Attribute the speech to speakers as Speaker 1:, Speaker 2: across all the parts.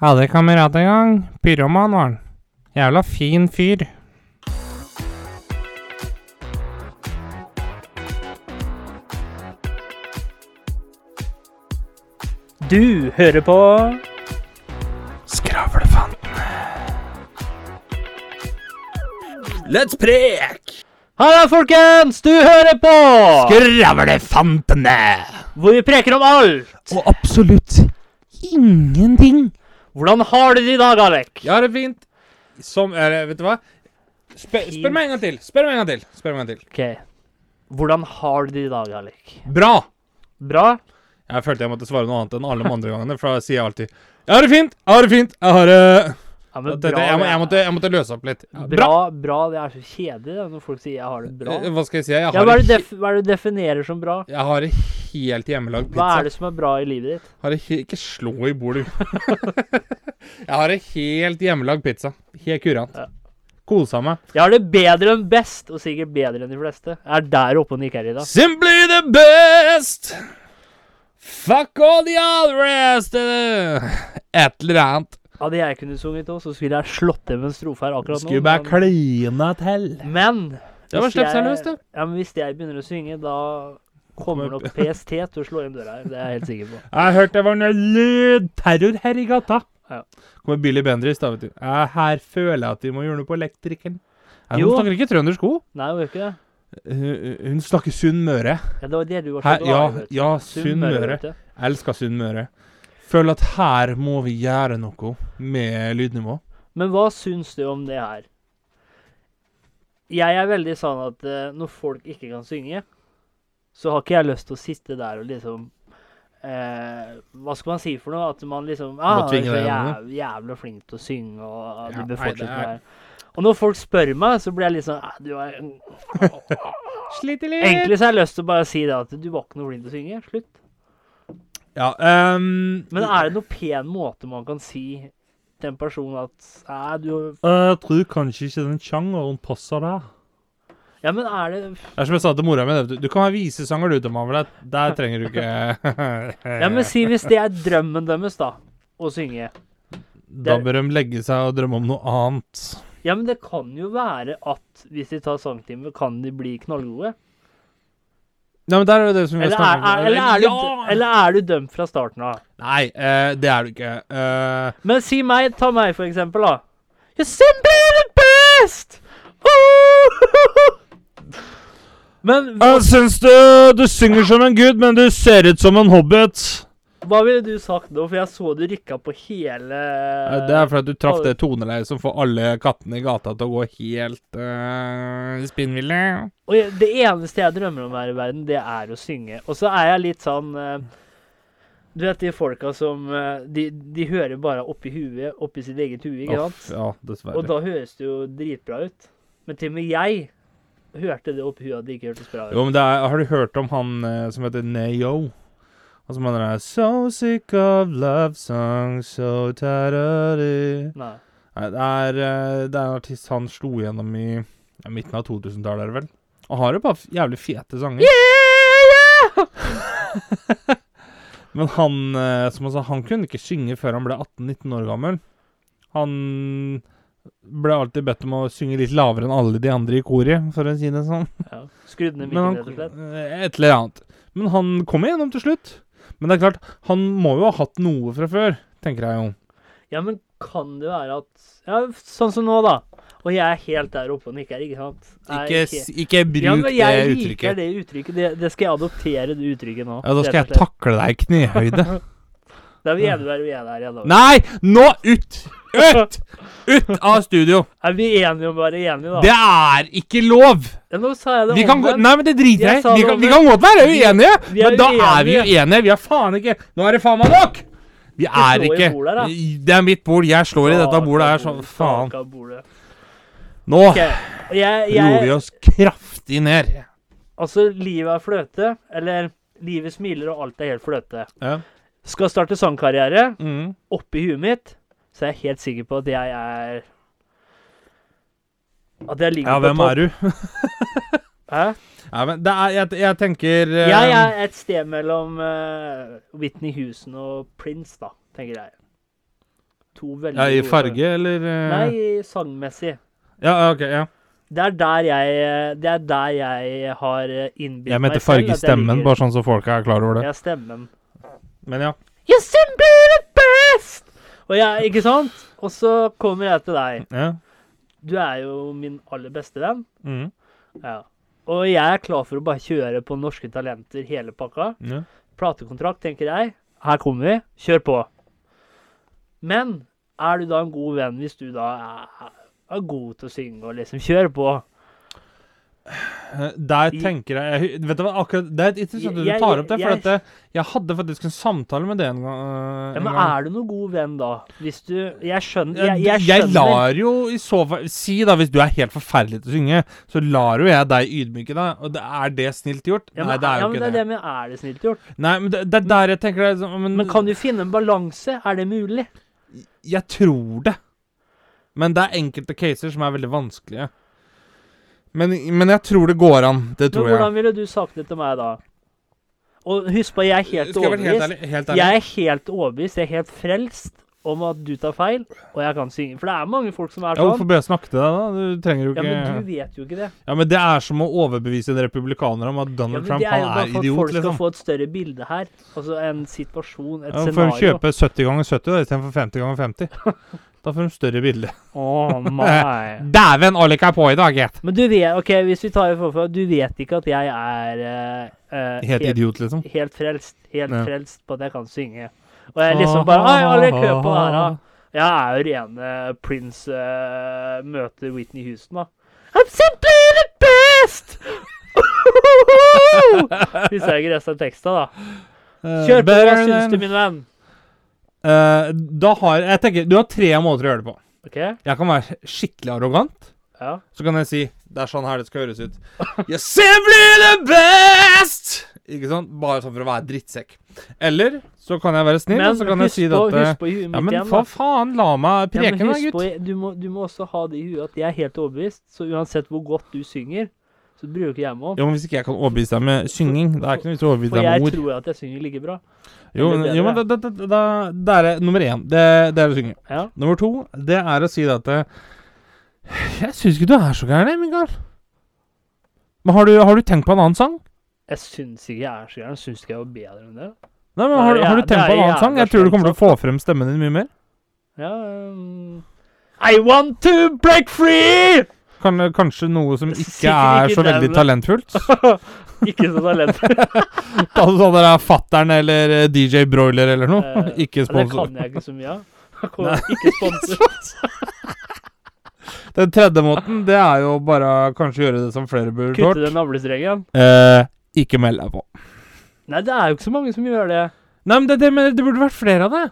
Speaker 1: Hadde en kamerat en gang. Pyroman var han. Jævla fin fyr.
Speaker 2: Du hører på
Speaker 1: Skravlefanten.
Speaker 3: Let's prek!
Speaker 2: Halla, folkens! Du hører på
Speaker 1: Skravlefantene!
Speaker 2: Hvor vi preker om alt!
Speaker 1: Og absolutt ingenting.
Speaker 2: Hvordan har du det i dag, Alek?
Speaker 3: Jeg har det fint. Som eller, Vet du hva? Spør, spør meg en gang til. Spør meg en gang til. Spør meg en gang til.
Speaker 2: Ok. Hvordan har du det i dag, Alek?
Speaker 3: Bra!
Speaker 2: Bra?
Speaker 3: Jeg følte jeg måtte svare noe annet enn alle de andre gangene, for da sier jeg alltid Jeg har det fint! Jeg har det fint! Jeg har det
Speaker 2: Ja,
Speaker 3: Dette- jeg, må, jeg, måtte, jeg måtte løse opp litt. Ja,
Speaker 2: bra. bra. Det er så kjedelig da, når folk sier 'jeg har det bra'.
Speaker 3: Eh, Hva skal jeg si? Jeg
Speaker 2: Ja, hva,
Speaker 3: har,
Speaker 2: er det
Speaker 3: he-
Speaker 2: def hva er det du definerer som bra?
Speaker 3: jeg har en helt hjemmelagd
Speaker 2: Hva er
Speaker 3: pizza.
Speaker 2: det som er bra i livet ditt?
Speaker 3: Har en he- ikke slå i bordet. jeg har en helt hjemmelagd pizza. Helt kurant.
Speaker 2: Ja.
Speaker 3: Kosa meg.
Speaker 2: Jeg har det bedre enn best, og sikkert bedre enn de fleste. Jeg er der oppe og nikker i dag.
Speaker 3: Simply the best! Fuck all the other rest! eh, Et eller annet.
Speaker 2: Hadde jeg kunnet sunget òg, så skulle jeg slått til med en strofe her akkurat nå.
Speaker 3: Skulle bare klina til.
Speaker 2: Men
Speaker 3: Det var
Speaker 2: Hvis jeg-
Speaker 3: slipp seg løs, du.
Speaker 2: Ja, men hvis jeg begynner å synge, da kommer nok PST til å slå inn døra her. Det er jeg helt sikker på.
Speaker 3: Jeg hørte det var noe lydterror her i gata.
Speaker 2: Ja.
Speaker 3: Kommer Billy Bendriss, da, vet du. Eh, her føler jeg at vi må gjøre noe på elektrikeren. Eh, Hun
Speaker 2: Jo.
Speaker 3: snakker ikke trøndersk, hun.
Speaker 2: Nei, hun gjør ikke det.
Speaker 3: Eh, Hun snakker Sunnmøre.
Speaker 2: Ja, det var det du var så
Speaker 3: Her- Ja,
Speaker 2: glad i. vet du.
Speaker 3: ja
Speaker 2: Sunnmøre,
Speaker 3: Sunnmøre.
Speaker 2: vet du.
Speaker 3: Elsker Sunnmøre. Føler at her må vi gjøre noe med lydnivå.
Speaker 2: Men hva syns du om det her? Jeg er veldig sånn at eh, når folk ikke kan synge, så har ikke jeg lyst til å sitte der og liksom eh, Hva skal man si for noe? At man liksom
Speaker 3: Må
Speaker 2: ah, du er
Speaker 3: tvinge
Speaker 2: så
Speaker 3: deg
Speaker 2: jæv,
Speaker 3: gjennom
Speaker 2: jævla flink til å synge, og ah,
Speaker 3: Ja,
Speaker 2: du
Speaker 3: nei,
Speaker 2: bør
Speaker 3: det
Speaker 2: fortsette
Speaker 3: er-
Speaker 2: med det her. Og når folk spør meg, så blir jeg litt sånn «Ah, du er,
Speaker 3: Sliter litt.
Speaker 2: Egentlig så har jeg lyst til å bare si det at du var ikke noe flink til å synge. Slutt.
Speaker 3: Ja, ehm,
Speaker 2: Men er det noen pen måte man kan si til en person at Nei, du
Speaker 3: eh, Jeg tror kanskje ikke den sjangeren passer der.
Speaker 2: Ja, men er det
Speaker 3: Det er som jeg sa til mora mi. Du, du kan være visesanger, du, Tom Hamlet. Der trenger du ikke
Speaker 2: Ja, men si hvis det er drømmen deres, da. Å synge.
Speaker 3: Da bør de legge seg og drømme om noe annet.
Speaker 2: Ja, men det kan jo være at hvis de tar sangtime, kan de bli knallgode.
Speaker 3: Nei, men der er det det som vi
Speaker 2: Eller
Speaker 3: snakker om.
Speaker 2: er, er, eller, er du,
Speaker 3: Ja!
Speaker 2: eller er du dømt fra starten av?
Speaker 3: Nei, eh, det er du ikke. Eh,
Speaker 2: Men si meg, ta meg for eksempel, da. You're simply the best! Oh! Men hva,
Speaker 3: jeg syns du, du synger som en gud, men du ser ut som en hobbit.
Speaker 2: hva ville du sagt nå? For jeg så du rykka på hele
Speaker 3: Eh, det er fordi du traff det toneleiet som får alle kattene i gata til å gå helt eh, spinnville.
Speaker 2: Og jeg, det eneste jeg drømmer om her i verden, det er å synge. Og så er jeg litt sånn eh, Du vet de folka som eh, de, de hører bare oppi huet, oppi sitt eget hue, ikke
Speaker 3: Uff,
Speaker 2: sant?
Speaker 3: ja,
Speaker 2: Og
Speaker 3: dessverre.
Speaker 2: da høres det jo dritbra ut. Men til og med jeg hørte det oppi huet at det ikke hørtes bra ut.
Speaker 3: Jo, men det er, Har du hørt om han eh, som heter Neo? Og som han er So sick of love songs, so tired of it.
Speaker 2: Nei.
Speaker 3: Nei, det er, eh, det er en artist han slo gjennom i ja, midten av 2000-tallet, er det vel? Og har jo bare f- jævlig fete sanger. Men han, eh, som han sa, han kunne ikke synge før han ble 18-19 år gammel. Han ble alltid bedt om å synge litt lavere enn alle de andre i koret, for å si det sånn.
Speaker 2: Ja. Skrudd ned
Speaker 3: Men han,
Speaker 2: mikken, rett og slett.
Speaker 3: eh, et eller annet. Men han kom igjennom til slutt. Men det er klart, han må jo ha hatt noe fra før, tenker jeg jo.
Speaker 2: Ja, men kan det være at Ja, sånn som nå, da. Og jeg er helt der oppe og nikker, ikke sant? Jeg er
Speaker 3: Ikke, ikke bruk
Speaker 2: ja, men
Speaker 3: det
Speaker 2: jeg liker
Speaker 3: uttrykket.
Speaker 2: det uttrykket. Det, det skal jeg adoptere, det uttrykket nå.
Speaker 3: Ja, Da skal jeg
Speaker 2: rett og
Speaker 3: takle deg i knehøyde.
Speaker 2: Da er vi enige der vi er der igjen. da.
Speaker 3: Nei, nå ut! Ut! Ut av studio!
Speaker 2: Er vi enige om å være enige, da?
Speaker 3: Det er ikke lov!
Speaker 2: Ja, nå sa jeg det
Speaker 3: Vi kan gå,
Speaker 2: omvendt.
Speaker 3: nei, men det driter jeg i.
Speaker 2: Jeg sa
Speaker 3: Vi,
Speaker 2: det
Speaker 3: kan- vi
Speaker 2: omvendt.
Speaker 3: kan godt være uenige,
Speaker 2: vi er
Speaker 3: men da er vi
Speaker 2: uenige.
Speaker 3: uenige. Vi er faen ikke Nå er det faen meg nok! Vi er
Speaker 2: slår i
Speaker 3: ikke
Speaker 2: bordet, da.
Speaker 3: Det er mitt bord. Jeg slår i dette
Speaker 2: Taka
Speaker 3: bordet her sånn
Speaker 2: bordet,
Speaker 3: Faen.
Speaker 2: taka bordet.
Speaker 3: Nå
Speaker 2: Ok, og Jeg,
Speaker 3: roer vi
Speaker 2: jeg,
Speaker 3: oss kraftig ned.
Speaker 2: altså, livet er fløte. Eller livet smiler, og alt er helt fløte.
Speaker 3: Ja.
Speaker 2: Skal jeg starte sangkarriere,
Speaker 3: Mm.
Speaker 2: oppi huet mitt, så er jeg helt sikker på at jeg er At jeg ligger
Speaker 3: Ja,
Speaker 2: på
Speaker 3: hvem er du?
Speaker 2: Hæ?
Speaker 3: Ja, men det er, jeg, jeg tenker eh,
Speaker 2: Jeg er et sted mellom eh, Whitney Houston og Prince, da, tenker jeg. to veldig
Speaker 3: Ja, I
Speaker 2: gode-
Speaker 3: farge, eller eh,
Speaker 2: Nei, sangmessig.
Speaker 3: Ja, ja, ok, ja.
Speaker 2: Det er der jeg, det er der jeg har eh, innbilt
Speaker 3: Jeg
Speaker 2: meg
Speaker 3: mente
Speaker 2: selv at jeg
Speaker 3: fargestemmen,
Speaker 2: liker-
Speaker 3: bare sånn så folk er klar over det.
Speaker 2: Ja, stemmen.
Speaker 3: Men ja.
Speaker 2: You're simply the best! Og jeg, ikke sant? Og så kommer jeg til deg.
Speaker 3: ja.
Speaker 2: Du er jo min aller beste venn.
Speaker 3: Mm.
Speaker 2: Ja. Og jeg er klar for å bare kjøre på norske talenter hele pakka.
Speaker 3: ja.
Speaker 2: Platekontrakt, tenker jeg. Her kommer vi. Kjør på. Men er du da en god venn hvis du da er, er god til å synge og liksom kjører på?
Speaker 3: Eh, Der
Speaker 2: I-
Speaker 3: tenker jeg, jeg Vet du hva, akkurat Det er interessant at du
Speaker 2: Jeg- jeg-
Speaker 3: tar opp det, for
Speaker 2: jeg-
Speaker 3: at eh, jeg hadde faktisk en samtale med det en gang. eh,
Speaker 2: Ja,
Speaker 3: en
Speaker 2: men
Speaker 3: gang.
Speaker 2: er du noen god venn da? Hvis du Jeg skjønner.
Speaker 3: Jeg,
Speaker 2: Jeg, jeg skjønner.
Speaker 3: lar jo i så fall Si da, hvis du er helt forferdelig til å synge, så lar jo jeg deg ydmyke deg. Og det er det snilt gjort?
Speaker 2: Ja, men,
Speaker 3: Nei, det er
Speaker 2: ja,
Speaker 3: jo
Speaker 2: men
Speaker 3: ikke
Speaker 2: det
Speaker 3: det.
Speaker 2: er det med Er det snilt gjort?
Speaker 3: Nei, men det, det er der jeg tenker det er sånn, men,
Speaker 2: Men kan du finne en balanse? Er det mulig?
Speaker 3: Jeg tror det. Men det er enkelte caser som er veldig vanskelige. Men, men jeg tror det går an. Det
Speaker 2: Men
Speaker 3: tror jeg.
Speaker 2: hvordan ville du sagt det til meg da? Og husk på, jeg er helt
Speaker 3: Skal jeg være helt
Speaker 2: overbevist.
Speaker 3: ærlig? Helt ærlig?
Speaker 2: Jeg er helt overbevist, jeg er helt frelst om at du tar feil, og jeg kan synge. For det er mange folk som er
Speaker 3: Ja, hvorfor
Speaker 2: sånn.
Speaker 3: bør jeg snakke til deg, da? Du trenger jo
Speaker 2: Ja,
Speaker 3: ikke
Speaker 2: men du vet jo ikke det.
Speaker 3: Ja, men det er som å overbevise en republikaner om at
Speaker 2: Ja, men
Speaker 3: Donald
Speaker 2: det
Speaker 3: Trump
Speaker 2: er jo
Speaker 3: han
Speaker 2: bare
Speaker 3: er
Speaker 2: for at
Speaker 3: idiot,
Speaker 2: folk skal
Speaker 3: liksom.
Speaker 2: få et større bilde her. Altså en situasjon, et
Speaker 3: Ja, får de
Speaker 2: scenario.
Speaker 3: kjøpe 70 ganger 70 da, istedenfor 50 ganger 50. Da får de større bilde.
Speaker 2: Å nei.
Speaker 3: Dæven, Alec er på i dag, gitt!
Speaker 2: Men du vet OK, hvis vi tar det forfra, du vet ikke at jeg er eh, eh,
Speaker 3: Helt idiot, liksom.
Speaker 2: helt frelst. Helt
Speaker 3: Ja. Ah,
Speaker 2: frelst på at jeg kan synge. Og jeg liksom bare Oi, alle køer på det her, da. Jeg er jo rene Prince eh, møter Whitney Houston, da. I'm simply the best! Hvis jeg ikke resten av teksten, da.
Speaker 3: Eh,
Speaker 2: Kjør på, hva
Speaker 3: better
Speaker 2: syns du,
Speaker 3: than-
Speaker 2: min venn?
Speaker 3: Eh, Da har Jeg tenker, du har tre måter å gjøre det på.
Speaker 2: OK?
Speaker 3: Jeg kan være skikkelig arrogant.
Speaker 2: Ja.
Speaker 3: Så kan jeg si Det er sånn her det skal høres ut. You're simply the best! Ikke sant? Bare sånn for å være drittsekk. Eller så kan jeg være snill,
Speaker 2: Men
Speaker 3: og så kan jeg
Speaker 2: husk
Speaker 3: si det
Speaker 2: på,
Speaker 3: at eh,
Speaker 2: husk på i huet
Speaker 3: Ja,
Speaker 2: mitt
Speaker 3: men
Speaker 2: igjen, da.
Speaker 3: for faen, la meg
Speaker 2: Ja, men
Speaker 3: preke, da,
Speaker 2: husk
Speaker 3: gutt.
Speaker 2: på, du, må, du må også ha det i huet at jeg er helt overbevist, så uansett hvor godt du synger, så bryr du ikke jeg meg om.
Speaker 3: Jo, men Hvis ikke jeg kan overbevise deg med synging Det er ikke noe vits i å
Speaker 2: For
Speaker 3: overbevise deg
Speaker 2: jeg
Speaker 3: med ord.
Speaker 2: tror at jeg synger like bra.
Speaker 3: Jo,
Speaker 2: det blir
Speaker 3: jo men
Speaker 2: bedre.
Speaker 3: da, da, da, da, det er det- nummer én. Det, det er å synge.
Speaker 2: Ja.
Speaker 3: Nummer to, det er å si det at eh, Jeg syns ikke du er så gæren, jeg, Mikael. Men har du, har du tenkt på en annen sang?
Speaker 2: Jeg syns ikke jeg er så gæren. Syns ikke jeg var bedre enn det.
Speaker 3: Nei, men
Speaker 2: Det er
Speaker 3: har, du- har
Speaker 2: jæ-
Speaker 3: du tenkt
Speaker 2: det
Speaker 3: på
Speaker 2: er
Speaker 3: en annen sang?
Speaker 2: jævla
Speaker 3: Jeg tror du
Speaker 2: slemt
Speaker 3: kommer til å få frem stemmen din mye mer.
Speaker 2: Ja um, I want to break free!
Speaker 3: Kan, kanskje noe som
Speaker 2: Sikkert
Speaker 3: ikke er
Speaker 2: ikke
Speaker 3: så veldig
Speaker 2: den.
Speaker 3: talentfullt.
Speaker 2: Ikke så talent. Eh,
Speaker 3: Altså sånn der Fatter'n eller eh, DJ Broiler eller noe.
Speaker 2: Eh,
Speaker 3: Ikke
Speaker 2: Ja, det
Speaker 3: sponsor.
Speaker 2: kan jeg ikke så mye av. Jeg kommer Ikke sponsor.
Speaker 3: Den tredje måten, det er jo bare kanskje gjøre det som flere burde
Speaker 2: Kutte
Speaker 3: gjort.
Speaker 2: den navlestrengen.
Speaker 3: Eh, ikke meld deg på.
Speaker 2: Nei, det er jo ikke så mange som gjør det.
Speaker 3: Nei, men det, det, men det burde vært flere av det.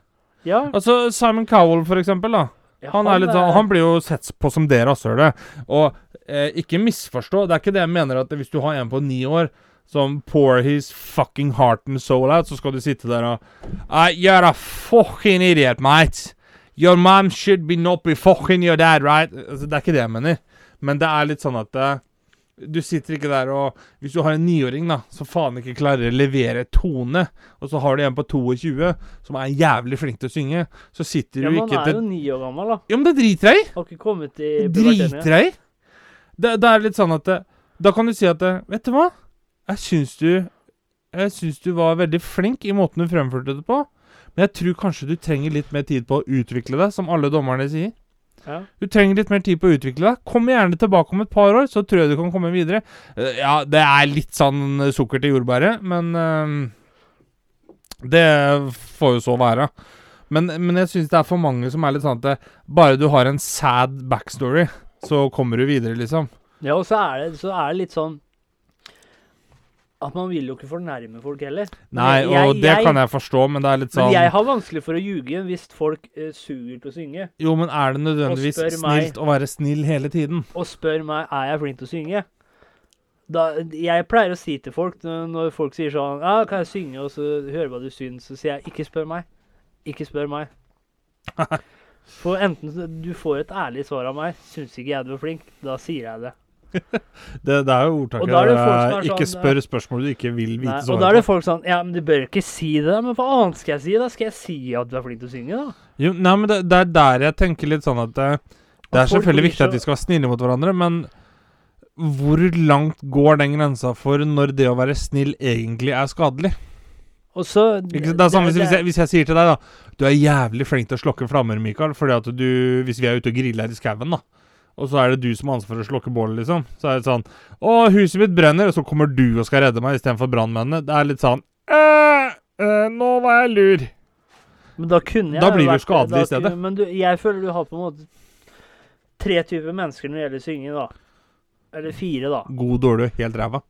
Speaker 2: Ja.
Speaker 3: Altså Simon Cowell, for eksempel. da
Speaker 2: ja,
Speaker 3: Han, er litt, sånn- han blir jo sett på som det rasshølet. Og eh, ikke misforstå, det er ikke det jeg mener at hvis du har en på ni år som pour his fucking heart and soul out, så skal du sitte der og uh, You're a fucking idiot, mate. Your mom should be not be fucking your dad, right? Altså, det er ikke det jeg mener. Men det er litt sånn at eh, du sitter ikke der og Hvis du har en niåring da, som faen ikke klarer å levere tone, og så har du en på 22 som er jævlig flink til å synge, så sitter
Speaker 2: ja,
Speaker 3: du
Speaker 2: men han
Speaker 3: ikke
Speaker 2: er
Speaker 3: til
Speaker 2: jo ni år gammel, da.
Speaker 3: Ja, men det driter jeg i!
Speaker 2: Har ikke kommet i puberteten igjen.
Speaker 3: Driter jeg i! Det, det er litt sånn at eh, Da kan du si at eh, Vet du hva? Jeg syns du Jeg syns du var veldig flink i måten du fremførte det på, men jeg tror kanskje du trenger litt mer tid på å utvikle deg, som alle dommerne sier.
Speaker 2: Ja.
Speaker 3: Du trenger litt mer tid på å utvikle deg. Kom gjerne tilbake om et par år, så tror jeg du kan komme videre. Eh, Ja, det er litt sånn eh, sukker til jordbæret, men eh, Det får jo så være. Men, men jeg syns det er for mange som er litt sånn at det, bare du har en sad backstory, så kommer du videre, liksom.
Speaker 2: Ja, og så er, det, så er det litt sånn at man vil jo ikke fornærme folk heller.
Speaker 3: Nei, og
Speaker 2: Jeg-
Speaker 3: det
Speaker 2: jeg-
Speaker 3: kan jeg forstå, men det er litt
Speaker 2: Men
Speaker 3: sånn
Speaker 2: jeg har vanskelig for å ljuge hvis folk eh, suger til å synge,
Speaker 3: Jo, men er det nødvendigvis
Speaker 2: Og spør meg-
Speaker 3: snilt å være snill hele tiden?
Speaker 2: og spør meg er jeg flink til å synge. Da, jeg pleier å si til folk når når folk sier sånn ja, 'Kan jeg synge?' og så hører jeg hva du syns, så sier jeg 'ikke spør meg'. Ikke spør meg. For enten så- du får et ærlig svar av meg, 'syns ikke jeg du var flink', da sier jeg det.
Speaker 3: Det, det er jo
Speaker 2: Og
Speaker 3: ordtaket.
Speaker 2: da er det
Speaker 3: der,
Speaker 2: folk som er
Speaker 3: eh, ikke
Speaker 2: sånn,
Speaker 3: spør spørsmål du ikke vil vite
Speaker 2: Nei, og
Speaker 3: svaret
Speaker 2: da er
Speaker 3: på.
Speaker 2: det folk sånn 'ja, men du bør ikke si det', men hva annet skal jeg si? da? Skal jeg si at du er flink til å synge, da?
Speaker 3: Jo, nei, men det, det er der jeg tenker litt sånn at det, det
Speaker 2: At
Speaker 3: er
Speaker 2: folk
Speaker 3: selvfølgelig
Speaker 2: blir
Speaker 3: viktig at
Speaker 2: så-
Speaker 3: vi skal være snille mot hverandre, men hvor langt går den grensa for når det å være snill egentlig er skadelig?
Speaker 2: Og så
Speaker 3: Ikke, sant? det er samme som hvis jeg, hvis jeg sier til deg, da Du er jævlig flink til å slokke flammer, Mikael, fordi at du Hvis vi er ute og griller her i skauen, da, og så er det du som har ansvar for å slokke bålet, liksom, så er det sånn Å, huset mitt brenner, og så kommer du og skal redde meg istedenfor brannmennene. Det er litt sånn eh, eh, Nå var jeg lur.
Speaker 2: Men da kunne jeg
Speaker 3: Da
Speaker 2: jo
Speaker 3: blir du
Speaker 2: vært-
Speaker 3: skadelig
Speaker 2: da
Speaker 3: i stedet.
Speaker 2: kunne- Men du, jeg føler du har på en måte tre typer mennesker når det gjelder synging, da. Eller fire, da.
Speaker 3: God, dårlig, helt ræva.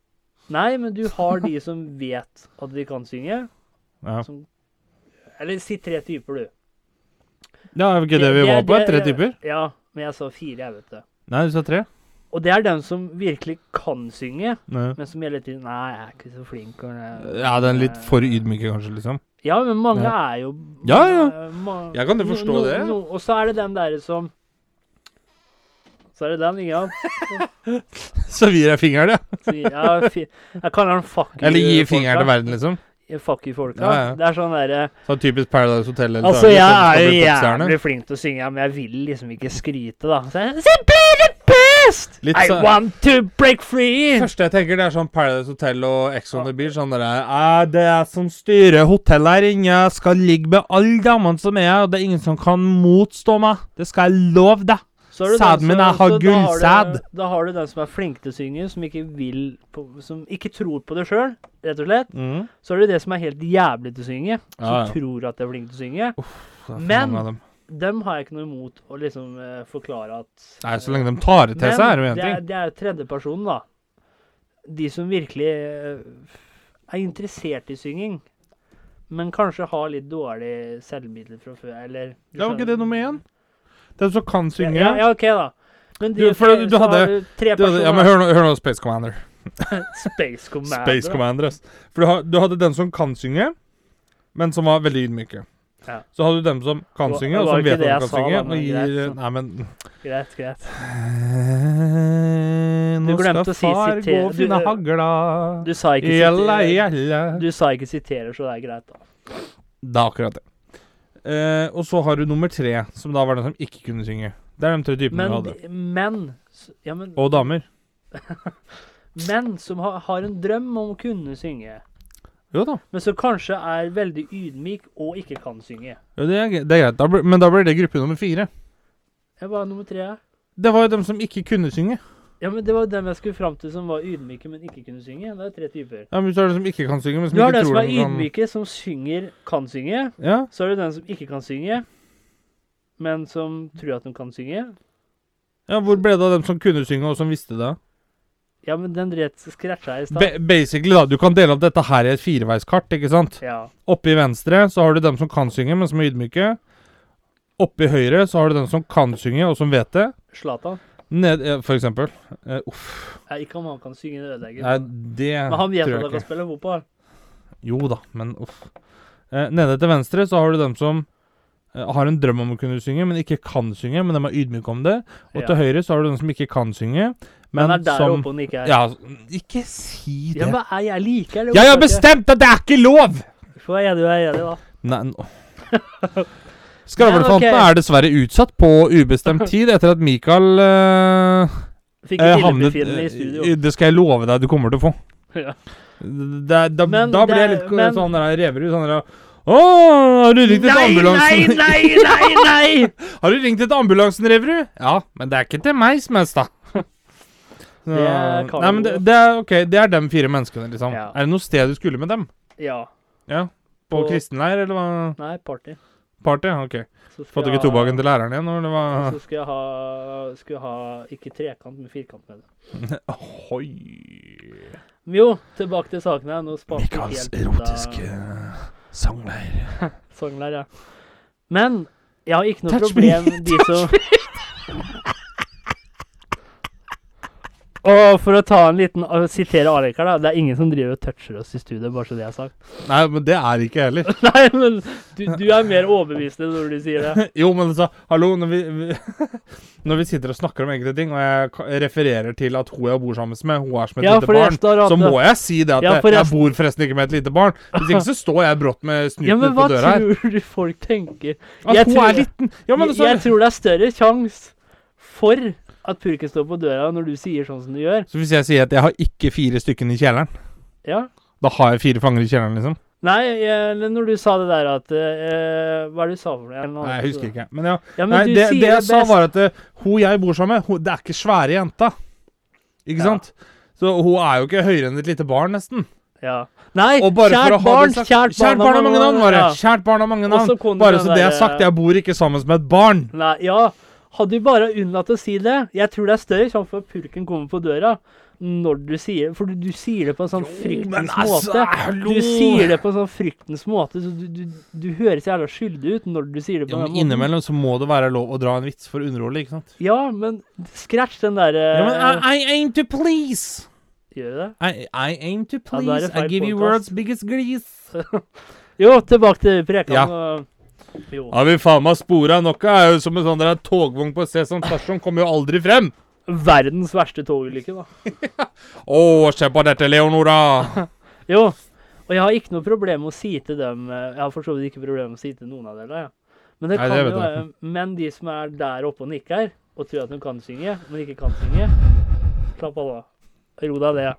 Speaker 2: Nei, men du har de som vet at de kan synge.
Speaker 3: Ja.
Speaker 2: Som, eller si tre typer, du.
Speaker 3: Ja, er ikke det vi var på? Tre typer?
Speaker 2: Ja, men jeg sa fire, jeg, vet det.
Speaker 3: Nei, du sa tre.
Speaker 2: Og det er dem som virkelig kan synge,
Speaker 3: Nei.
Speaker 2: men som hele tiden Nei, jeg er ikke så flink. Og jeg-
Speaker 3: Ja, den litt for ydmyke, kanskje, liksom.
Speaker 2: Ja, men mange
Speaker 3: Ja.
Speaker 2: er jo
Speaker 3: Ja, ja.
Speaker 2: ma-
Speaker 3: Jeg kan jo forstå
Speaker 2: no,
Speaker 3: det.
Speaker 2: No, og så er det dem derre som Så er det den, ikke sant?
Speaker 3: Så gir jeg fingeren, ja.
Speaker 2: Så gir- Ja, fi, jeg kaller den fuck you.
Speaker 3: Eller gir
Speaker 2: folka.
Speaker 3: fingeren til verden, liksom.
Speaker 2: Fuck you, folka.
Speaker 3: Ja, ja.
Speaker 2: Det er sånn derre
Speaker 3: Sånn typisk Paradise Hotel. eller
Speaker 2: Altså,
Speaker 3: Dagny,
Speaker 2: jeg
Speaker 3: som skal
Speaker 2: er
Speaker 3: bli
Speaker 2: jo
Speaker 3: popstjerne.
Speaker 2: jævlig flink til å synge, men jeg vil liksom ikke skryte, da. Så jeg så jeg blir the best!
Speaker 3: Litt
Speaker 2: I
Speaker 3: så-
Speaker 2: want to break free!
Speaker 3: første jeg tenker, det er sånn Paradise Hotel og Ex on the Beach. Sånn der, «Æ, det er jeg som styrer hotellet her inne. Jeg skal ligge med alle damene som er her, og det er ingen som kan motstå meg. Det skal jeg love deg.
Speaker 2: Så er det den
Speaker 3: Sæden min
Speaker 2: som-
Speaker 3: er- har
Speaker 2: så da har
Speaker 3: gullsæd.
Speaker 2: du- Da har du den som er flink til å synge, som ikke vil på, Som ikke tror på det sjøl, rett og slett.
Speaker 3: Mm.
Speaker 2: Så er det det som er helt jævlig til å synge, som
Speaker 3: Ja, ja.
Speaker 2: tror at de er flinke til å synge.
Speaker 3: Så det er for
Speaker 2: Men-
Speaker 3: mange av dem.
Speaker 2: Dem har jeg ikke noe imot å liksom eh, forklare at eh,
Speaker 3: Nei, så lenge de tar det til seg, er det jo én
Speaker 2: det er,
Speaker 3: ting.
Speaker 2: det er tredjepersonen, da. De som virkelig eh, er interessert i synging, men kanskje har litt dårlig selvbilde fra før, eller du
Speaker 3: Det var
Speaker 2: skjønner.
Speaker 3: ikke det nummer én. Den som kan synge.
Speaker 2: Ja, ja, OK, da. Men de,
Speaker 3: Du, for du- du
Speaker 2: så har
Speaker 3: hadde-
Speaker 2: tre
Speaker 3: Det,
Speaker 2: personer.
Speaker 3: ja, men hør nå, hør nå Space Commander.
Speaker 2: Space Commander.
Speaker 3: Space Commander, ass. For du, har, du hadde den som kan synge, men som var veldig ydmyke.
Speaker 2: Ja.
Speaker 3: Så hadde du dem som kan
Speaker 2: Det var-
Speaker 3: synge,
Speaker 2: det
Speaker 3: og
Speaker 2: var
Speaker 3: som
Speaker 2: ikke
Speaker 3: vet at
Speaker 2: det
Speaker 3: de
Speaker 2: jeg
Speaker 3: kan
Speaker 2: sa,
Speaker 3: synge.
Speaker 2: da, men
Speaker 3: Og gir,
Speaker 2: greit, så-
Speaker 3: nei, men
Speaker 2: Greit, greit.
Speaker 3: Nå skal
Speaker 2: glemte å si
Speaker 3: far
Speaker 2: siter-
Speaker 3: gå og
Speaker 2: du,
Speaker 3: finne
Speaker 2: eh,
Speaker 3: hagla.
Speaker 2: Du sa ikke
Speaker 3: Gjella,
Speaker 2: sitere-
Speaker 3: gjella.
Speaker 2: Du sa ikke siterer, så det er greit, da.
Speaker 3: Det er akkurat det. Eh, og så har du nummer tre, som da var den som ikke kunne synge. Det er de tre typene
Speaker 2: Men,
Speaker 3: du hadde.
Speaker 2: men, s- ja, men,
Speaker 3: Og damer.
Speaker 2: men som har, har en drøm om å kunne synge,
Speaker 3: Jo da.
Speaker 2: men som kanskje er veldig ydmyk og ikke kan synge.
Speaker 3: Jo, det, er, gre- det er greit. Da blir- men da blir det gruppe nummer fire.
Speaker 2: Jeg var nummer tre. jeg.
Speaker 3: Det var jo dem som ikke kunne synge.
Speaker 2: Ja, men Det var dem jeg skulle fram til som var ydmyke, men ikke kunne synge. Det er tre typer.
Speaker 3: Ja, men så er det som ikke kan synge, men som
Speaker 2: Du har
Speaker 3: ikke
Speaker 2: den som
Speaker 3: tror
Speaker 2: er
Speaker 3: de kan
Speaker 2: ydmyke, som synger, kan synge.
Speaker 3: Ja,
Speaker 2: Så er det den som ikke kan synge, men som tror at de kan synge.
Speaker 3: ja Hvor ble det av dem som kunne synge, og som visste det?
Speaker 2: Ja, men den rett scratcha jeg i stad.
Speaker 3: Ba basically, da. Du kan dele opp dette her i et fireveiskart, ikke sant?
Speaker 2: Ja.
Speaker 3: Oppe i venstre så har du dem som kan synge, men som er ydmyke. Oppe i høyre så har du dem som kan synge, og som vet det.
Speaker 2: Zlatan.
Speaker 3: Ned, eh, for eksempel. Eh, uff.
Speaker 2: Ja, ikke om han kan synge, det ødelegger.
Speaker 3: Nei, det
Speaker 2: men han vet
Speaker 3: tror
Speaker 2: at
Speaker 3: jeg
Speaker 2: han kan
Speaker 3: ikke.
Speaker 2: spille fotball.
Speaker 3: Jo da, men uff. Eh, nede til venstre så har du dem som eh, har en drøm om å kunne synge, men ikke kan synge, men de er ydmyke om det. Og
Speaker 2: Ja.
Speaker 3: til høyre så har du dem som ikke kan synge, men
Speaker 2: Han er der
Speaker 3: som
Speaker 2: oppe og nikker.
Speaker 3: Ja, ikke si
Speaker 2: Ja,
Speaker 3: det.
Speaker 2: men er jeg like, eller?
Speaker 3: Jeg har bestemt at det er ikke lov!
Speaker 2: Så er du er enig, da.
Speaker 3: Nei, nå. Skravlefantene
Speaker 2: Men ok.
Speaker 3: er dessverre utsatt på ubestemt tid etter at Mikael eh,
Speaker 2: Fikk
Speaker 3: eh,
Speaker 2: ikke
Speaker 3: havnet
Speaker 2: illebefinnende i
Speaker 3: eh,
Speaker 2: studio.
Speaker 3: Det skal jeg love deg, du kommer til å få.
Speaker 2: Ja.
Speaker 3: Da, da,
Speaker 2: Men
Speaker 3: da blir jeg
Speaker 2: det-
Speaker 3: litt
Speaker 2: men-
Speaker 3: sånn der reverud. Sånn der Å, har du ringt etter
Speaker 2: Nei, nei,
Speaker 3: ambulansen?
Speaker 2: nei, nei! nei!
Speaker 3: Har du ringt etter ambulansen, Reverud? Ja, men det er ikke til meg som helst, da. Så,
Speaker 2: er Carlo,
Speaker 3: nei, men det, det er ok, det er dem fire menneskene, liksom.
Speaker 2: Ja.
Speaker 3: Er det noe sted du skulle med dem?
Speaker 2: Ja.
Speaker 3: Ja. På
Speaker 2: På-
Speaker 3: kristenleir, eller hva?
Speaker 2: Nei, party.
Speaker 3: Party? Ok.
Speaker 2: Så skal
Speaker 3: Fått du
Speaker 2: jeg
Speaker 3: ikke
Speaker 2: ha-
Speaker 3: tobakken til læreren igjen, eller hva?
Speaker 2: Så skulle jeg ha, skulle jeg ha ikke trekant, men firkant med det. Altså,
Speaker 3: Hoi.
Speaker 2: Men jo, tilbake til saken her. Nå sparte vi helt eh, ut av
Speaker 3: sangleir.
Speaker 2: sangen her, ja. Men jeg har ikke noe
Speaker 3: Touch me,
Speaker 2: problem de som Og for å ta en liten å sitere Alek her, da. Det er ingen som driver og toucher oss i studio, bare så det er sagt.
Speaker 3: Nei, men det er ikke jeg heller.
Speaker 2: Nei, men du, du er mer overbevisende når du sier det.
Speaker 3: Jo, men altså, hallo, når vi, vi, når vi sitter og snakker om enkelte ting, og jeg ka- refererer til at hun jeg bor sammen med, hun er som et
Speaker 2: Ja,
Speaker 3: lite barn,
Speaker 2: forresten har
Speaker 3: så
Speaker 2: hatt
Speaker 3: må
Speaker 2: det.
Speaker 3: jeg si det at
Speaker 2: Ja,
Speaker 3: jeg- jeg
Speaker 2: forresten.
Speaker 3: bor forresten ikke med et lite barn. Hvis ikke så står jeg brått med snuten
Speaker 2: Ja, men hva
Speaker 3: på døra her.
Speaker 2: tror du folk tenker?
Speaker 3: At
Speaker 2: Jeg
Speaker 3: hun
Speaker 2: tror-
Speaker 3: er liten. Ja, men
Speaker 2: Jeg,
Speaker 3: altså,
Speaker 2: jeg tror det er større sjanse for at purken står på døra når du sier sånn som du gjør.
Speaker 3: Så hvis jeg sier at jeg har ikke fire stykken i kjelleren,
Speaker 2: Ja.
Speaker 3: da har jeg fire fanger i kjelleren, liksom?
Speaker 2: Nei, jeg, eller når du sa det der at eh, Hva er det du sa for noe?
Speaker 3: Nei, jeg husker ikke. Men ja.
Speaker 2: Ja, men
Speaker 3: Nei,
Speaker 2: du
Speaker 3: det,
Speaker 2: sier
Speaker 3: det jeg sa,
Speaker 2: best.
Speaker 3: var at eh, hun jeg bor sammen med, hun, det er ikke svære jenta. Ikke
Speaker 2: Ja.
Speaker 3: sant? Så hun er jo ikke høyere enn et lite barn, nesten.
Speaker 2: ja. Nei,
Speaker 3: Og bare
Speaker 2: kjært,
Speaker 3: for å ha
Speaker 2: barn,
Speaker 3: det sagt,
Speaker 2: kjært barn!
Speaker 3: Kjært barn har mange navn, var det.
Speaker 2: Ja.
Speaker 3: Kjært barn har mange
Speaker 2: Og
Speaker 3: navn.
Speaker 2: så kom
Speaker 3: Bare
Speaker 2: den
Speaker 3: så det er
Speaker 2: der,
Speaker 3: sagt, jeg bor ikke sammen med et barn.
Speaker 2: Nei, ja. Hadde du bare unnlatt å si det Jeg tror det er større sjanse for at purken kommer på døra når du sier For du, du sier det på en sånn fryktens måte.
Speaker 3: altså, hallo!
Speaker 2: Du sier det på en sånn fryktens måte, så du, du, du høres jævla skyldig ut når du sier det
Speaker 3: ja,
Speaker 2: på den
Speaker 3: men
Speaker 2: måten.
Speaker 3: Innimellom så må det være lov å dra en vits for å underholde, ikke sant?
Speaker 2: Ja, men scratch den derre
Speaker 3: Ja, men eh, I, I aim to please!
Speaker 2: Gjør det?
Speaker 3: I, I aim to
Speaker 2: Ja, da er
Speaker 3: please.
Speaker 2: det
Speaker 3: I
Speaker 2: feil
Speaker 3: give you
Speaker 2: podcast.
Speaker 3: world's biggest glees.
Speaker 2: Jo, tilbake til preken.
Speaker 3: Ja.
Speaker 2: og- Jo.
Speaker 3: Ja, vi faen meg spora nok er jo som en sånn der togvogn på Sesam stasjon, kommer jo aldri frem.
Speaker 2: Verdens verste togulykke, da.
Speaker 3: Å, se på dette, Leonora.
Speaker 2: Jo. Og jeg har ikke noe problem med å si til dem eh, Jeg har for så vidt ikke problem med å si til noen av dere. Ja. Men,
Speaker 3: Nei,
Speaker 2: det kan
Speaker 3: det vet
Speaker 2: jo
Speaker 3: jeg
Speaker 2: være, men de som er der oppe og nikker, og tror at de kan synge, men ikke kan synge Slapp av, da. Ro deg ned.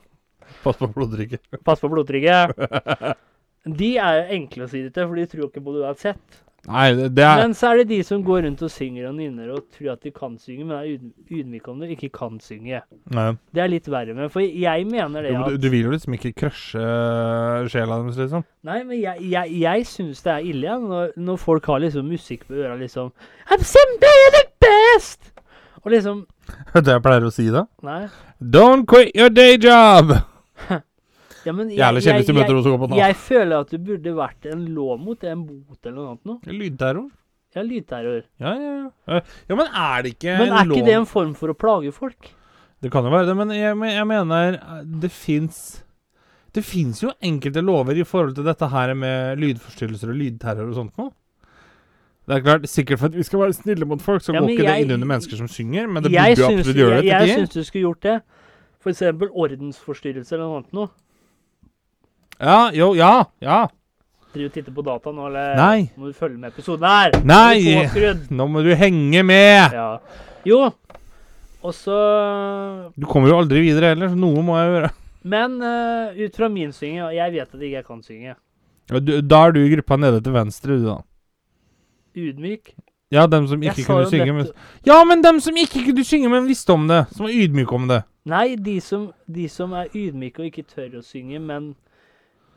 Speaker 3: Pass på bloddrikket.
Speaker 2: Pass på blodtrykket. De er jo enkle å si det til, for de tror jo ikke på det uansett.
Speaker 3: Nei, det- det er
Speaker 2: Men så er det de som går rundt og synger og nynner og tror at de kan synge, men er yd- ydmyke om det, ikke kan synge.
Speaker 3: Nei.
Speaker 2: Det er litt verre med, for jeg mener det
Speaker 3: Jo, men du,
Speaker 2: at
Speaker 3: du vil jo liksom ikke crushe sjela deres, liksom.
Speaker 2: Nei, men jeg, jeg, jeg syns det er ille ja, når, når folk har liksom musikk på øra, liksom I'm simply the best! Og liksom
Speaker 3: Vet du hva jeg pleier å si da?
Speaker 2: Nei.
Speaker 3: Don't quit your day job!
Speaker 2: Ja, men jeg,
Speaker 3: Jævlig
Speaker 2: jeg,
Speaker 3: kjendis du møter hos Håkon.
Speaker 2: jeg, jeg føler at det burde vært en lov mot det, en bot eller noe annet noe.
Speaker 3: Lydterror.
Speaker 2: Ja, lydterror.
Speaker 3: Ja, ja, ja. Eh, Ja, men er det ikke
Speaker 2: Men er ikke
Speaker 3: lov-
Speaker 2: det en form for å plage folk?
Speaker 3: Det kan jo være det, men jeg, men jeg mener eh, det fins Det fins jo enkelte lover i forhold til dette her med lydforstyrrelser og lydterror og sånt noe. Det er klart, sikkert for at vi skal være snille mot folk, så
Speaker 2: Ja,
Speaker 3: går
Speaker 2: men
Speaker 3: ikke det
Speaker 2: jeg-
Speaker 3: inn under mennesker som synger, men det
Speaker 2: jeg
Speaker 3: burde jo
Speaker 2: syns-
Speaker 3: absolutt gjøre det
Speaker 2: Jeg, jeg
Speaker 3: til de.
Speaker 2: syns du skulle gjort det. For eksempel ordensforstyrrelse eller noe annet noe.
Speaker 3: Ja, jo, ja, ja.
Speaker 2: Driver og titter på data nå, eller
Speaker 3: Nei.
Speaker 2: må du følge med episoden her?
Speaker 3: Nei.
Speaker 2: Du er påskrudd.
Speaker 3: Nå må du henge med!
Speaker 2: Ja. Jo. Og så
Speaker 3: Du kommer jo aldri videre heller, så noe må jeg gjøre.
Speaker 2: Men eh, ut fra min synging, og jeg vet at ikke jeg kan synge,
Speaker 3: Ja, du, da er du i gruppa nede til venstre, du, da.
Speaker 2: ydmyk
Speaker 3: Ja, dem som
Speaker 2: Jeg
Speaker 3: ikke
Speaker 2: sa
Speaker 3: kunne
Speaker 2: jo
Speaker 3: synge.
Speaker 2: dette-
Speaker 3: Men... Ja, men dem som ikke kunne synge, men visste om det. Som var ydmyke om det.
Speaker 2: Nei, de som, de som er ydmyke og ikke tør å synge, men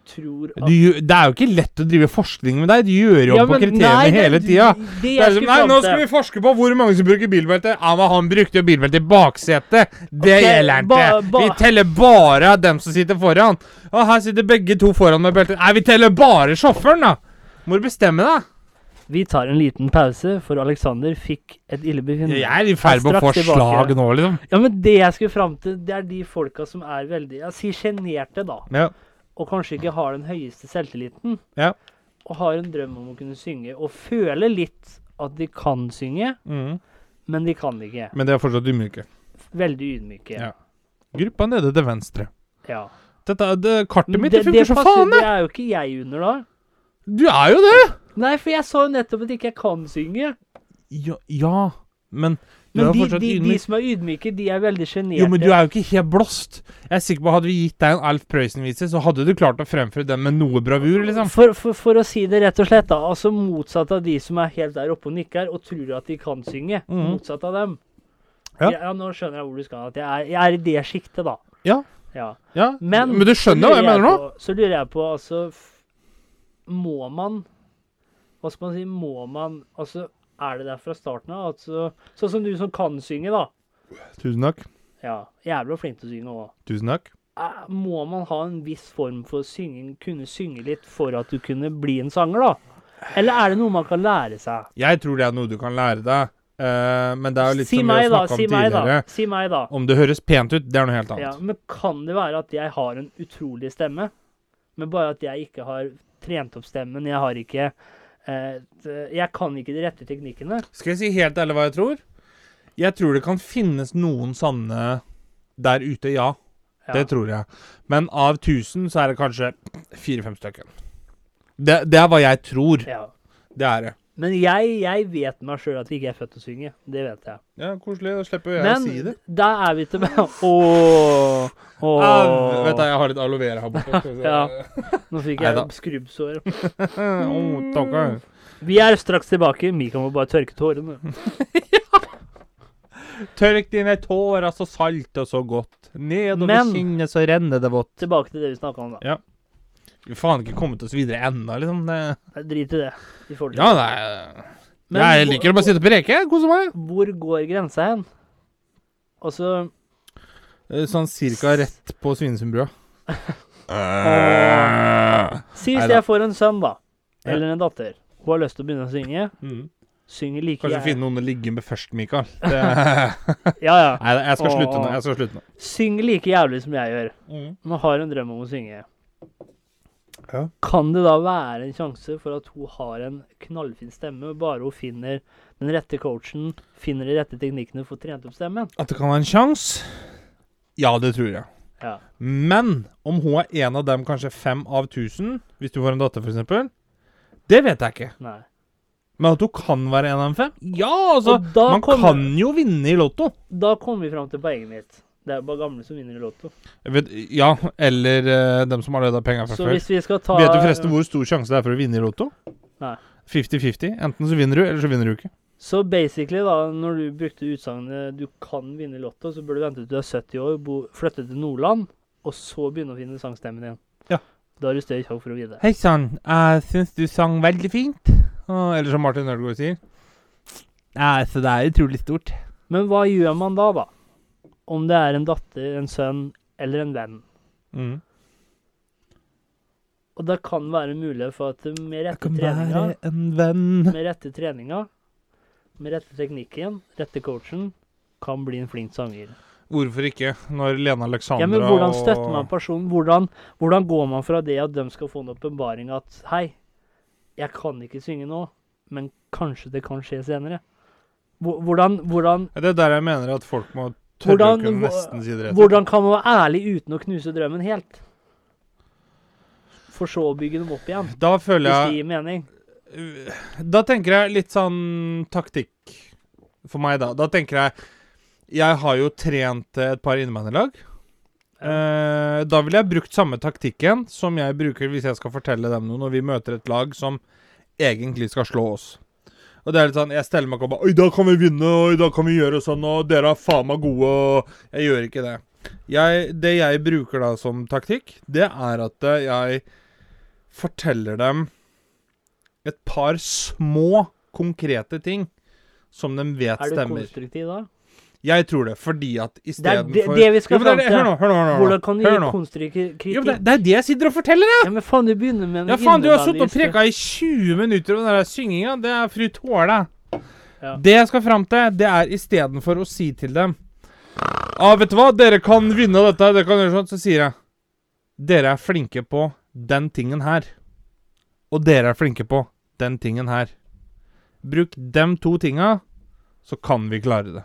Speaker 2: tror at
Speaker 3: Du, gjør- det er jo ikke lett å drive forskning med deg. Du gjør jo om på
Speaker 2: men
Speaker 3: kriteriene
Speaker 2: nei, det-
Speaker 3: hele tida.
Speaker 2: Det,
Speaker 3: Det
Speaker 2: jeg
Speaker 3: er som,
Speaker 2: skulle
Speaker 3: Nei,
Speaker 2: fram
Speaker 3: nå
Speaker 2: til.
Speaker 3: skal vi forske på hvor mange som bruker bilbelte. Ja, men han brukte jo bilbelte i baksetet. Det
Speaker 2: Ok,
Speaker 3: gjelder ikke.
Speaker 2: ba- ba-
Speaker 3: Vi teller bare dem som sitter foran. Og her sitter begge to foran med belte. Nei, vi teller bare sjåføren, da. Må du bestemme deg.
Speaker 2: Vi tar en liten pause, for Alexander fikk et illebefinnende.
Speaker 3: Jeg er i ferd med å
Speaker 2: Mm. Straks
Speaker 3: få
Speaker 2: tilbake.
Speaker 3: slag nå, liksom.
Speaker 2: Ja, men det jeg skulle fram til, det er de folka som er veldig Jeg sier sjenerte, da.
Speaker 3: Ja.
Speaker 2: Og kanskje ikke har den høyeste selvtilliten.
Speaker 3: Ja.
Speaker 2: Og har en drøm om å kunne synge, og føler litt at de kan synge,
Speaker 3: Mm.
Speaker 2: men de kan ikke.
Speaker 3: Men det er fortsatt ydmyke.
Speaker 2: Veldig ydmyke.
Speaker 3: Ja. Gruppa nede til venstre.
Speaker 2: Ja.
Speaker 3: Dette, er- det, kartet
Speaker 2: Men
Speaker 3: mitt det, funker
Speaker 2: det
Speaker 3: så
Speaker 2: passer-
Speaker 3: faen, det!
Speaker 2: Det er jo ikke jeg under, da.
Speaker 3: Du er jo det!
Speaker 2: Nei, for jeg sa jo nettopp at ikke jeg kan synge.
Speaker 3: Ja, ja men du
Speaker 2: Men
Speaker 3: er
Speaker 2: de,
Speaker 3: fortsatt
Speaker 2: de, de
Speaker 3: ydmyk.
Speaker 2: som er ydmyke, de er veldig sjenerte.
Speaker 3: Jo, men du er jo ikke helt blåst. Jeg er sikker på Hadde vi gitt deg en Alf Prøysen-vise, så hadde du klart å fremføre den med noe bravur, liksom.
Speaker 2: For, for, for å si det rett og slett, da. Altså motsatt av de som er helt der oppe og nikker og tror at de kan synge.
Speaker 3: Mhm.
Speaker 2: Motsatt av dem.
Speaker 3: Ja.
Speaker 2: Ja. nå skjønner jeg hvor du skal. At jeg er, jeg er i det sjiktet, da.
Speaker 3: Ja.
Speaker 2: Ja.
Speaker 3: Ja,
Speaker 2: Men,
Speaker 3: men du skjønner hva jeg mener nå?
Speaker 2: Så lurer jeg på, altså f- Må man Hva skal man si? Må man Altså, er det der fra starten av? Altså, sånn som du som kan synge, da.
Speaker 3: Tusen takk.
Speaker 2: Ja. Jævla flink til å synge òg.
Speaker 3: Tusen takk.
Speaker 2: Må man ha en viss form for synging, kunne synge litt for at du kunne bli en sanger, da? Eller er det noe man kan lære seg?
Speaker 3: Jeg tror det er noe du kan lære deg. Eh, men det er jo litt
Speaker 2: si
Speaker 3: som vi
Speaker 2: meg,
Speaker 3: har
Speaker 2: da.
Speaker 3: snakka om
Speaker 2: Si meg, da.
Speaker 3: tidligere.
Speaker 2: Si meg, da.
Speaker 3: Om det høres pent ut, det er noe helt
Speaker 2: Ja,
Speaker 3: annet.
Speaker 2: men kan det være at jeg har en utrolig stemme, men bare at jeg ikke har trent opp stemmen? Jeg har ikke eh, t- Jeg kan ikke de rette teknikkene.
Speaker 3: Skal jeg si helt ærlig hva jeg tror? Jeg tror det kan finnes noen sanne der ute, ja.
Speaker 2: Ja.
Speaker 3: Det tror jeg. Men av 1000 så er det kanskje fire-fem stykker. Det, det er hva jeg tror.
Speaker 2: ja.
Speaker 3: Det er det.
Speaker 2: Men jeg, jeg vet meg sjøl at jeg ikke er født til å synge. Det vet jeg.
Speaker 3: Ja, Koselig. Da slipper jeg
Speaker 2: Men
Speaker 3: å si det.
Speaker 2: da er vi tilbake Ååå.
Speaker 3: Au, Ah, vet du, jeg har litt aloe vera her borte. skal vi se.
Speaker 2: Ja. Nå fikk jeg
Speaker 3: Neida.
Speaker 2: skrubbsår.
Speaker 3: Åh, takker.
Speaker 2: Vi er straks tilbake. Mika må bare tørke tårene.
Speaker 3: Tørk dine tårer så salt og så godt. Nedover
Speaker 2: Men-
Speaker 3: kinnet så renner det vått.
Speaker 2: Tilbake til det vi snakka om, da.
Speaker 3: Vi har faen ikke kommet oss videre ennå, liksom. Det,
Speaker 2: Drit i det. Vi får det.
Speaker 3: ja, det er
Speaker 2: Men
Speaker 3: Jeg
Speaker 2: hvor-
Speaker 3: liker å bare sitte og preke. Kose meg.
Speaker 2: Hvor går grensa hen? Altså
Speaker 3: Eh, Sånn cirka rett på Svinesundbrua.
Speaker 2: Si
Speaker 3: Neida.
Speaker 2: hvis jeg får en sønn, da.
Speaker 3: Ja.
Speaker 2: Eller en datter. Hun har lyst til å begynne å synge.
Speaker 3: Mm.
Speaker 2: Synger like
Speaker 3: Kanskje
Speaker 2: jeg.
Speaker 3: finne noen å ligge med først, Mikael. Det... Nei,
Speaker 2: Ja, ja.
Speaker 3: jeg skal slutte nå.
Speaker 2: Åh.
Speaker 3: Jeg skal slutte nå.
Speaker 2: Synger like jævlig som jeg gjør. Men har en drøm om å synge.
Speaker 3: Ja.
Speaker 2: Kan det da være en sjanse for at hun har en knallfin stemme, bare hun finner den rette coachen, finner de rette teknikkene for å få trent opp stemmen?
Speaker 3: At det kan være en sjanse? Ja, det tror jeg.
Speaker 2: Ja.
Speaker 3: Men om hun er en av dem, kanskje fem av tusen, hvis du får en datter, f.eks., det vet jeg ikke.
Speaker 2: Nei.
Speaker 3: Men at hun kan være en av dem fem? Ja, altså!
Speaker 2: Og da
Speaker 3: Man
Speaker 2: kommer-
Speaker 3: kan jo vinne i Lotto.
Speaker 2: Da kommer vi fram til poenget mitt. Det er jo bare gamle som vinner i Lotto.
Speaker 3: Jeg vet, ja, eller eh, dem som allerede har penger fra
Speaker 2: Så
Speaker 3: før.
Speaker 2: hvis vi skal ta
Speaker 3: Vet du forresten hvor stor sjanse det er for å vinne i Lotto?
Speaker 2: Nei.
Speaker 3: 50-50. Enten så vinner du, eller så vinner du ikke.
Speaker 2: Så basically, da, når du brukte utsagnet 'du kan vinne i Lotto', så bør du vente til du er 70 år, bo, flytte til Nordland, og så begynne å finne sangstemmen igjen.
Speaker 3: Ja.
Speaker 2: Da har du større sjanse for å vinne.
Speaker 3: Hei sann, jeg syns du sang veldig fint. Og- Eller som Martin Ødegaard sier. Nei, så det er utrolig stort.
Speaker 2: Men hva gjør man da, da? Om det er en datter, en sønn eller en venn.
Speaker 3: Mm.
Speaker 2: Og det kan være mulighet for at med rette treninga,
Speaker 3: en venn.
Speaker 2: med rette treninga, med rette teknikken, rette coachen, kan bli en flink sanger.
Speaker 3: Hvorfor ikke? Når Lene Alexandra
Speaker 2: Ja, men hvordan
Speaker 3: og-
Speaker 2: støtter man personen? Hvordan, hvordan går man fra det at de skal få en åpenbaring at Hei, jeg kan ikke synge nå, men kanskje det kan skje senere. Hvor- Hvordan, hvordan,
Speaker 3: Ja, Det er der jeg mener at folk må tørre
Speaker 2: Hvordan-
Speaker 3: å kunne nesten si det rett.
Speaker 2: hvordan kan man være ærlig uten å knuse drømmen helt? For så å bygge dem opp igjen,
Speaker 3: Da føler
Speaker 2: hvis
Speaker 3: jeg
Speaker 2: det gir mening.
Speaker 3: Da tenker jeg litt sånn taktikk for meg, da. Da tenker jeg Jeg har jo trent eh, et par innebandylag. Eh, da ville jeg brukt samme taktikken som jeg bruker hvis jeg skal fortelle dem noe når vi møter et lag som egentlig skal slå oss. Og det er litt sånn, Jeg steller meg ikke og bare 'Oi, da kan vi vinne, og i dag kan vi gjøre sånn', og 'dere er faen meg gode', og Jeg gjør ikke det. Jeg, det jeg bruker da som taktikk, det er at eh, jeg forteller dem et par små, konkrete ting som de vet
Speaker 2: Er du
Speaker 3: stemmer.
Speaker 2: konstruktiv da?
Speaker 3: Jeg tror det, fordi at
Speaker 2: Det er det,
Speaker 3: istedenfor
Speaker 2: det vi skal
Speaker 3: Jo, men
Speaker 2: fram
Speaker 3: det er det- Hør nå,
Speaker 2: til.
Speaker 3: hør nå. Hør nå,
Speaker 2: Hvordan kan du
Speaker 3: hør
Speaker 2: gi
Speaker 3: nå.
Speaker 2: konstruktiv
Speaker 3: Jo, men det,
Speaker 2: kritikk?
Speaker 3: det er det jeg sitter og forteller deg!
Speaker 2: Ja, men faen, du begynner med en
Speaker 3: Ja, faen, du har sittet og
Speaker 2: innebandist.
Speaker 3: preka i 20 minutter om den der synginga. Det er fru Tåle.
Speaker 2: Ja.
Speaker 3: Det jeg skal fram til, det er istedenfor å si til dem Ja, vet du hva, dere kan vinne dette, dere kan gjøre sånn, så sier jeg Dere er flinke på den tingen her. Og dere er flinke på den tingen her. Bruk dem to tinga, så kan vi klare det.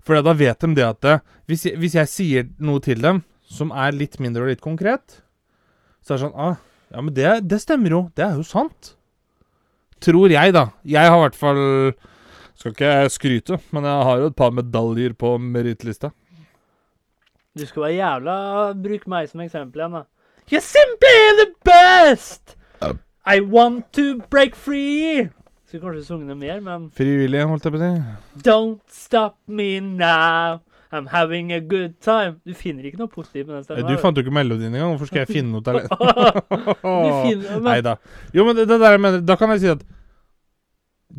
Speaker 3: For da vet de det at det, hvis, jeg, hvis jeg sier noe til dem som er litt mindre og litt konkret, så er det sånn ah, Ja, men det, det stemmer jo. Det er jo sant. Tror jeg, da. Jeg har i hvert fall Skal ikke skryte, men jeg har jo et par medaljer på merittlista.
Speaker 2: Du skal være jævla Bruk meg som eksempel igjen, da. You're simply the best! I want to break free! Skulle kanskje sunget det mer, men
Speaker 3: Frivillig, holdt jeg på å si.
Speaker 2: Don't stop me now. I'm having a good time. Du finner ikke noe positivt med den
Speaker 3: Eh,
Speaker 2: stemmen.
Speaker 3: Du
Speaker 2: her,
Speaker 3: fant jo ikke melodien engang. Hvorfor skal jeg finne noe talent?
Speaker 2: du finner,
Speaker 3: Nei
Speaker 2: men,
Speaker 3: da. Jo, men det, det der jeg mener Da kan jeg si at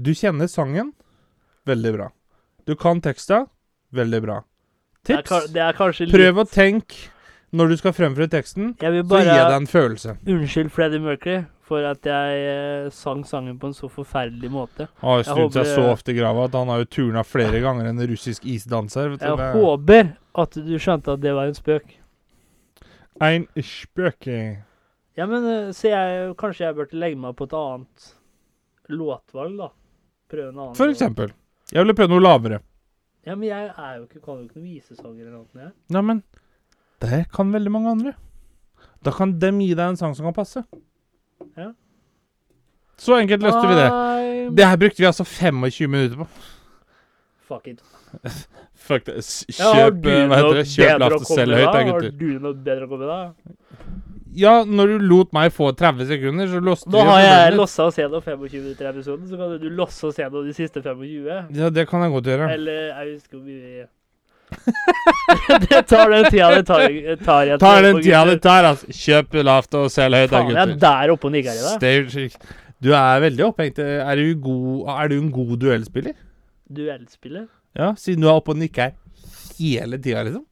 Speaker 3: du kjenner sangen. Veldig bra. Du kan teksta. Veldig bra.
Speaker 2: det, er, ka-
Speaker 3: Tips.
Speaker 2: det er kanskje litt
Speaker 3: Prøv å tenke når du skal fremføre teksten,
Speaker 2: Jeg vil
Speaker 3: så gi
Speaker 2: bare
Speaker 3: deg en følelse.
Speaker 2: Unnskyld Freddie Mercury for at jeg eh, sang sangen på en så forferdelig måte.
Speaker 3: Han har jo
Speaker 2: Jeg
Speaker 3: snudd seg så
Speaker 2: håper-
Speaker 3: ofte i grava at han har jo turna flere ganger en russisk isdanser. Vet du.
Speaker 2: Jeg
Speaker 3: Det er
Speaker 2: håper at du skjønte at det var en spøk.
Speaker 3: Ein spøk.
Speaker 2: Ja, men eh, så jeg Kanskje jeg burde legge meg på et annet låtvalg, da. Prøve en annen.
Speaker 3: For eksempel. Jeg ville prøvd noe lavere.
Speaker 2: Ja, men jeg er jo ikke, kan jo ikke noen visesanger eller noe. Jeg.
Speaker 3: Neimen, det kan veldig mange andre. Da kan dem gi deg en sang som kan passe.
Speaker 2: Ja. Ah.
Speaker 3: Så enkelt løste vi det.
Speaker 2: I'm-
Speaker 3: Det her brukte vi altså 25 minutter på.
Speaker 2: Fuck it.
Speaker 3: Fuck det. S-
Speaker 2: Ja, har
Speaker 3: Kjøp
Speaker 2: du
Speaker 3: eh, hva
Speaker 2: noe
Speaker 3: heter det? Kjøp
Speaker 2: bedre å
Speaker 3: lavt og
Speaker 2: komme
Speaker 3: selg
Speaker 2: med
Speaker 3: høyt,
Speaker 2: da?
Speaker 3: da, gutter.
Speaker 2: Har du noe bedre å komme med da?
Speaker 3: Ja, når du lot meg få 30 sekunder, så låste
Speaker 2: Da
Speaker 3: vi
Speaker 2: har
Speaker 3: problemet
Speaker 2: jeg
Speaker 3: ditt.
Speaker 2: lossa å se noe 25 minutter i episoden, så kan jo du losse å se noe de siste 25.
Speaker 3: Ja, det kan jeg godt gjøre.
Speaker 2: Eller jeg husker hvor mye Det tar den tida det tar. tar jeg
Speaker 3: Ta den
Speaker 2: på
Speaker 3: tida
Speaker 2: gutter.
Speaker 3: det tar, altså. Kjøp lavt og selg høyt, da,
Speaker 2: Faen, jeg er
Speaker 3: gutter.
Speaker 2: der oppe og nikker i deg.
Speaker 3: Stage Du er veldig opphengt. Er du, god, er du en god duellspiller?
Speaker 2: Duellspillet.
Speaker 3: Ja, siden du er oppe og nikker hele tida, liksom.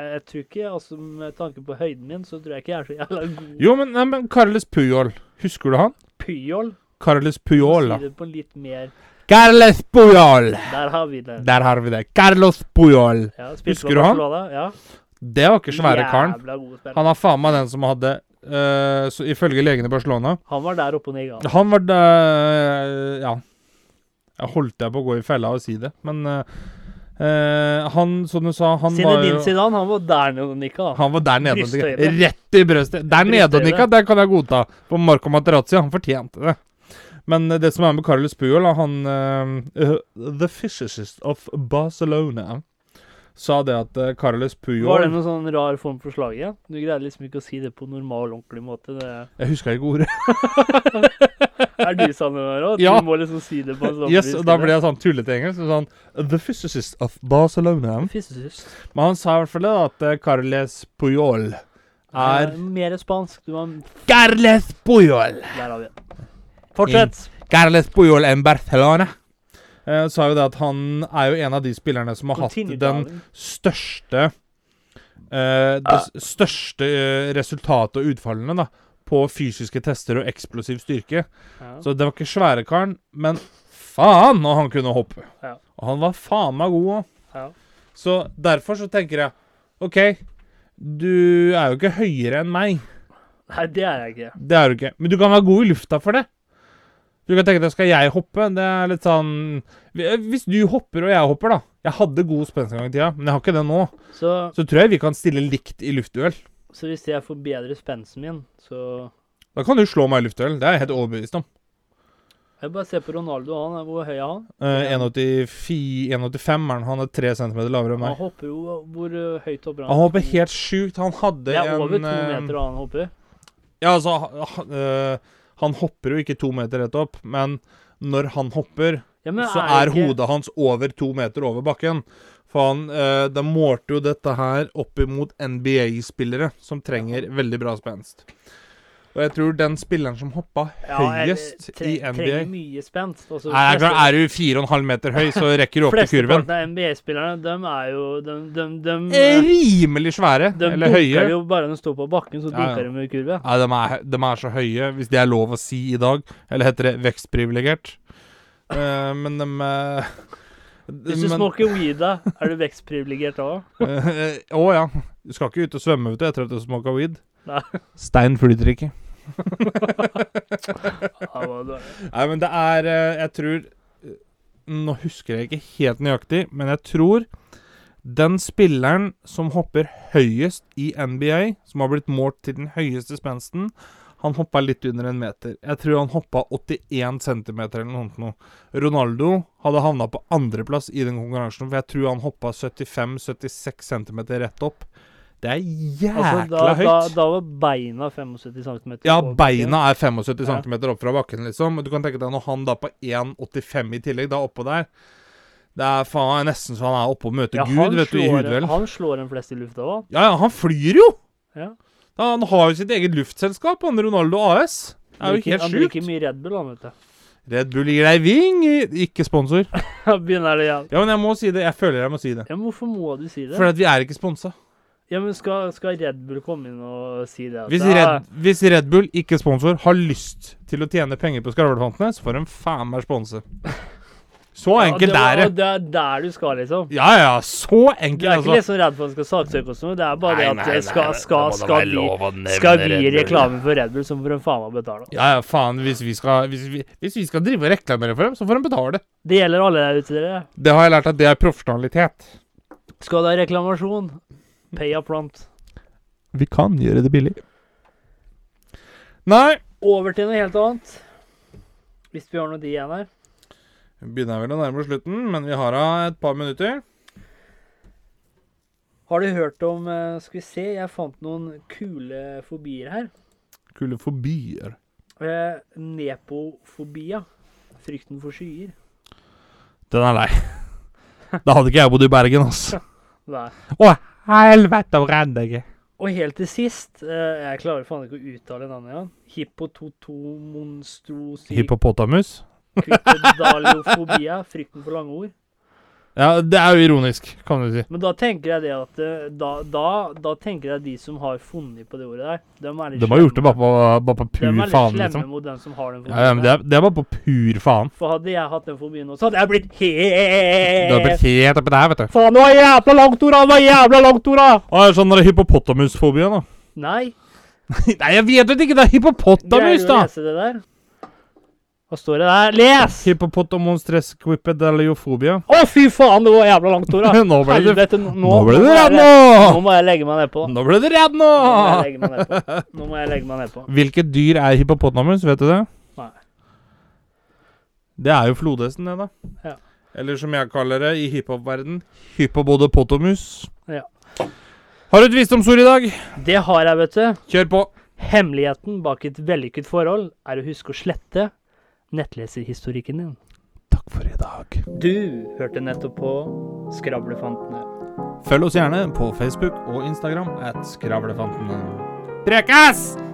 Speaker 2: Jeg jeg tror ikke, altså med tanke på høyden min, så tror jeg ikke jeg er så jævla god.
Speaker 3: Jo, men, nei, men Carles Puyol. Husker du han?
Speaker 2: Pyol.
Speaker 3: Carles
Speaker 2: Si
Speaker 3: Puyol, da.
Speaker 2: det på litt mer
Speaker 3: Carles Puyol!
Speaker 2: Der har vi det.
Speaker 3: Der har vi det. Carlos Puyol.
Speaker 2: Ja, spilte
Speaker 3: Husker
Speaker 2: på
Speaker 3: du han?
Speaker 2: Barcelona, Ja.
Speaker 3: Det var ikke svære karen.
Speaker 2: Jævla god spiller.
Speaker 3: Han er faen meg den som hadde eh, så, Ifølge legene i Barcelona
Speaker 2: Han var der oppe og niga.
Speaker 3: Han var eh, Ja. Jeg holdt jeg på å gå i fella og si det, men eh, eh, han, som du sa, han var
Speaker 2: Zinedine
Speaker 3: jo
Speaker 2: Zidane, han var der nede og nikka. da.
Speaker 3: han var der nede og nikka.
Speaker 2: Brysthøyde.
Speaker 3: Rett i brøstet. Der nede og nikka,
Speaker 2: Brysthøyde.
Speaker 3: det kan jeg godta. På Marco Materazzi, han fortjente det. Men eh, det som er med Carlos Puyol, da, han eh, eh, The physicist of Barcelona sa det at eh, Carlos
Speaker 2: Var det
Speaker 3: Puyol
Speaker 2: noen sånn rar form for slag igjen? Du greide liksom ikke å si det på normal, ordentlig måte. Det
Speaker 3: Jeg husker ikke ordet.
Speaker 2: er du sann med meg òg?
Speaker 3: Ja.
Speaker 2: Du må liksom si det på en sånn
Speaker 3: Yes, og da ble jeg sånn tullete engelsk. Sånn, The physicist of Barcelona.
Speaker 2: Fysisk.
Speaker 3: Men han sa i hvert fall det, da, at eh, Carles Puyol er
Speaker 2: Mer spansk. Du var
Speaker 3: Carles Puyol!
Speaker 2: Der har vi det. Fortsett.
Speaker 3: Carles Puyol en Barcelona. Eh, sa jo det at han er jo en av de spillerne som har hatt
Speaker 2: Continue,
Speaker 3: den
Speaker 2: darling.
Speaker 3: største eh, Det s- største eh, resultatet og utfallene, da, på fysiske tester og eksplosiv styrke.
Speaker 2: Ja.
Speaker 3: Så det var ikke svære karen, men faen når han kunne hoppe.
Speaker 2: Ja.
Speaker 3: Og han var faen meg god òg.
Speaker 2: Ja.
Speaker 3: Så derfor så tenker jeg OK, du er jo ikke høyere enn meg.
Speaker 2: Nei, det er jeg ikke.
Speaker 3: Det er du ikke. Men du kan være god i lufta for det. Du kan tenke deg, skal jeg hoppe? Det er litt sånn Hvis du hopper og jeg hopper, da Jeg hadde god spenst en gang i tida, men jeg har ikke det nå.
Speaker 2: Så,
Speaker 3: Så tror jeg vi kan stille likt i luftduell.
Speaker 2: så hvis jeg forbedrer spensten min, så
Speaker 3: Da kan du slå meg i luftduell. Det er jeg helt overbevist om.
Speaker 2: Jeg bare ser på Ronaldo, han er hvor høy er han?
Speaker 3: Eh, 1,84 1,85 er han. Han er 3 cm lavere enn
Speaker 2: Han
Speaker 3: meg.
Speaker 2: hopper jo Hvor uh, høyt hopper han?
Speaker 3: Han hopper helt sjukt. Han hadde
Speaker 2: Det er
Speaker 3: en
Speaker 2: over to
Speaker 3: eh,
Speaker 2: meter og han hopper.
Speaker 3: Ja, altså ha- ha- eh, Han hopper jo ikke to meter rett opp, men når han hopper,
Speaker 2: Ja, men
Speaker 3: så er
Speaker 2: ikke-
Speaker 3: hodet hans over to meter over bakken. For han eh, De målte jo dette her opp imot NBA-spillere som trenger veldig bra spenst. Og jeg tror den spilleren som hoppa
Speaker 2: Ja, eller
Speaker 3: høyest i
Speaker 2: tre-
Speaker 3: NBA
Speaker 2: Trenger mye spent. Altså,
Speaker 3: Nei, det er, klart, er du fire og en halv meter høy, så rekker du opp til kurven.
Speaker 2: Flesteparten av NBA-spillerne, de er jo De, de, de,
Speaker 3: Eh,
Speaker 2: eh,
Speaker 3: Rimelig svære,
Speaker 2: de
Speaker 3: eller høye.
Speaker 2: dunker jo bare når de står på bakken, så
Speaker 3: Ja, ja.
Speaker 2: dunker de i kurve.
Speaker 3: Nei, de er, de er så høye, hvis det er lov å si i dag. Eller heter det vekstprivilegert? Eh, men de eh,
Speaker 2: Hvis du
Speaker 3: men-
Speaker 2: smoker weed, da, er du vekstprivilegert da òg?
Speaker 3: Eh, Å ja. Du skal ikke ut og svømme vet du, etter at du har smoka weed.
Speaker 2: Nei.
Speaker 3: Stein flyter ikke.
Speaker 2: Ja, hva du er.
Speaker 3: Nei, men det er eh, Jeg tror Nå husker jeg ikke helt nøyaktig, men jeg tror den spilleren som hopper høyest i NBA, som har blitt målt til den høyeste spensten, han hoppa litt under en meter. Jeg tror han hoppa 81 cm eller noe sånt noe. Ronaldo hadde havna på andreplass i den konkurransen, for jeg tror han hoppa 75-76 cm rett opp. Det er jækla
Speaker 2: Altså, da,
Speaker 3: høyt.
Speaker 2: da, da var beina 75 cm.
Speaker 3: Ja, beina er 75
Speaker 2: Ja.
Speaker 3: cm opp fra bakken, liksom. Og Du kan tenke deg når han da på 1,85 i tillegg, da oppå der Det er faen nesten så han er oppe og møter
Speaker 2: Ja,
Speaker 3: Gud,
Speaker 2: han,
Speaker 3: vet du, i
Speaker 2: slår,
Speaker 3: hudduell.
Speaker 2: han slår en flest i lufta òg.
Speaker 3: Ja, ja, han flyr jo!
Speaker 2: Ja.
Speaker 3: Ja, Han har jo sitt eget luftselskap, han Ronaldo AS. Det er jo helt
Speaker 2: Han drikker
Speaker 3: sjukt.
Speaker 2: mye Red Bull, han, vet du.
Speaker 3: Red Bull gir deg ving, ikke sponsor.
Speaker 2: Da begynner det igjen.
Speaker 3: Ja, men jeg må si det. Jeg føler jeg må si det.
Speaker 2: Ja, men hvorfor må du si det?
Speaker 3: Fordi at vi er ikke sponsa.
Speaker 2: Ja, men skal, skal Red Bull komme inn og si det? at,
Speaker 3: Hvis
Speaker 2: «Ja,
Speaker 3: Red, hvis Red Bull, ikke sponsor, har lyst til å tjene penger på Skravlefantene, så får de faen meg sponse. Så
Speaker 2: ja,
Speaker 3: enkelt
Speaker 2: det var-
Speaker 3: er det.
Speaker 2: Det er der du skal, liksom.
Speaker 3: Ja, ja, så
Speaker 2: Du
Speaker 3: enkelt,
Speaker 2: er ikke
Speaker 3: altså.
Speaker 2: liksom redd for at han skal saksøke oss nå, det er bare det at eh, skal, skal,
Speaker 4: det må da
Speaker 2: skal,
Speaker 4: være
Speaker 2: vi,
Speaker 4: lov å nevne
Speaker 2: skal vi
Speaker 4: Red Bull.
Speaker 2: reklame for Red Bull, så får de faen meg betale.
Speaker 3: Ja, ja, faen. Hvis vi skal, hvis vi, hvis vi skal drive og reklamere for dem, så får de betale.
Speaker 2: Det gjelder alle der ute, dere.
Speaker 3: Det har jeg lært at det er profesjonalitet.
Speaker 2: Skal det ha reklamasjon? Pay up front.
Speaker 3: Vi kan gjøre det billig. Nei.
Speaker 2: Over til noe helt annet. Hvis vi har noe de igjen her.
Speaker 3: Vi begynner vel å nærme oss slutten, men vi har da et par minutter.
Speaker 2: Har du hørt om eh, Skal vi se, jeg fant noen kule fobier her.
Speaker 3: Kule forbyer.
Speaker 2: Eh, nepofobia. Frykten for skyer.
Speaker 3: Den er lei. Da hadde ikke jeg bodd i Bergen, altså.
Speaker 2: Nei.
Speaker 3: Helvete, hvor redd jeg er.
Speaker 2: Og helt til sist eh, Jeg klarer faen ikke å uttale navnet igjen. Hippototomonstrosykvidalofobia.
Speaker 3: Hippopotamus?
Speaker 2: Frykten for lange ord.
Speaker 3: Ja, det er jo ironisk, kan du si.
Speaker 2: Men da tenker jeg det at eh, da, da, da tenker jeg de som har funnet på det ordet der De, er litt
Speaker 3: De har gjort det
Speaker 2: slemme.
Speaker 3: bare på, bare på
Speaker 2: De er
Speaker 3: pur
Speaker 2: litt
Speaker 3: faen,
Speaker 2: slemme
Speaker 3: liksom.
Speaker 2: mot den som har den
Speaker 3: Ja, ja, men det, er, det er bare på pur faen.
Speaker 2: For hadde jeg hatt den fobien nå, så hadde jeg blitt
Speaker 3: Det har blitt
Speaker 2: helt
Speaker 3: helt oppi der, vet du.
Speaker 2: Eh, Faen, det var jævla langt ord, da! det var jævla langt ord, da!
Speaker 3: Å, sånn der hippopotamusfobien, da.
Speaker 2: Nei.
Speaker 3: Nei, jeg vet jo ikke! Det er hippopotamus,
Speaker 2: Greier du å
Speaker 3: da!
Speaker 2: lese det der? Hva står det der? Les! Å,
Speaker 3: Hippopotamonstresquipedaliofobia.
Speaker 2: fy faen, det var jævla langt ord, da!
Speaker 3: Nå ble du
Speaker 2: Helvete, nå,
Speaker 3: Nå ble du
Speaker 2: må jeg
Speaker 3: redd,
Speaker 2: le-
Speaker 3: nå!
Speaker 2: Nå må jeg legge meg nedpå.
Speaker 3: Nå ble du redd, nå!
Speaker 2: Nå må jeg legge meg nedpå. Nå må jeg legge meg nedpå.
Speaker 3: Hvilket dyr er hippopotamus, vet du det?
Speaker 2: Nei.
Speaker 3: Det er jo flodhesten, det, da.
Speaker 2: Ja.
Speaker 3: Eller som jeg kaller det i hiphop-verden, hypobodopotamus.
Speaker 2: Ja.
Speaker 3: Har du et visdomsord i dag?
Speaker 2: Det har jeg, vet du.
Speaker 3: Kjør på.
Speaker 2: Hemmeligheten bak et vellykket forhold er å huske å slette nettleserhistorikken din.
Speaker 3: Takk for i dag.
Speaker 2: Du hørte nettopp på Skravlefantene.
Speaker 3: Følg oss gjerne på Facebook og Instagram at Skravlefantene. Prekas!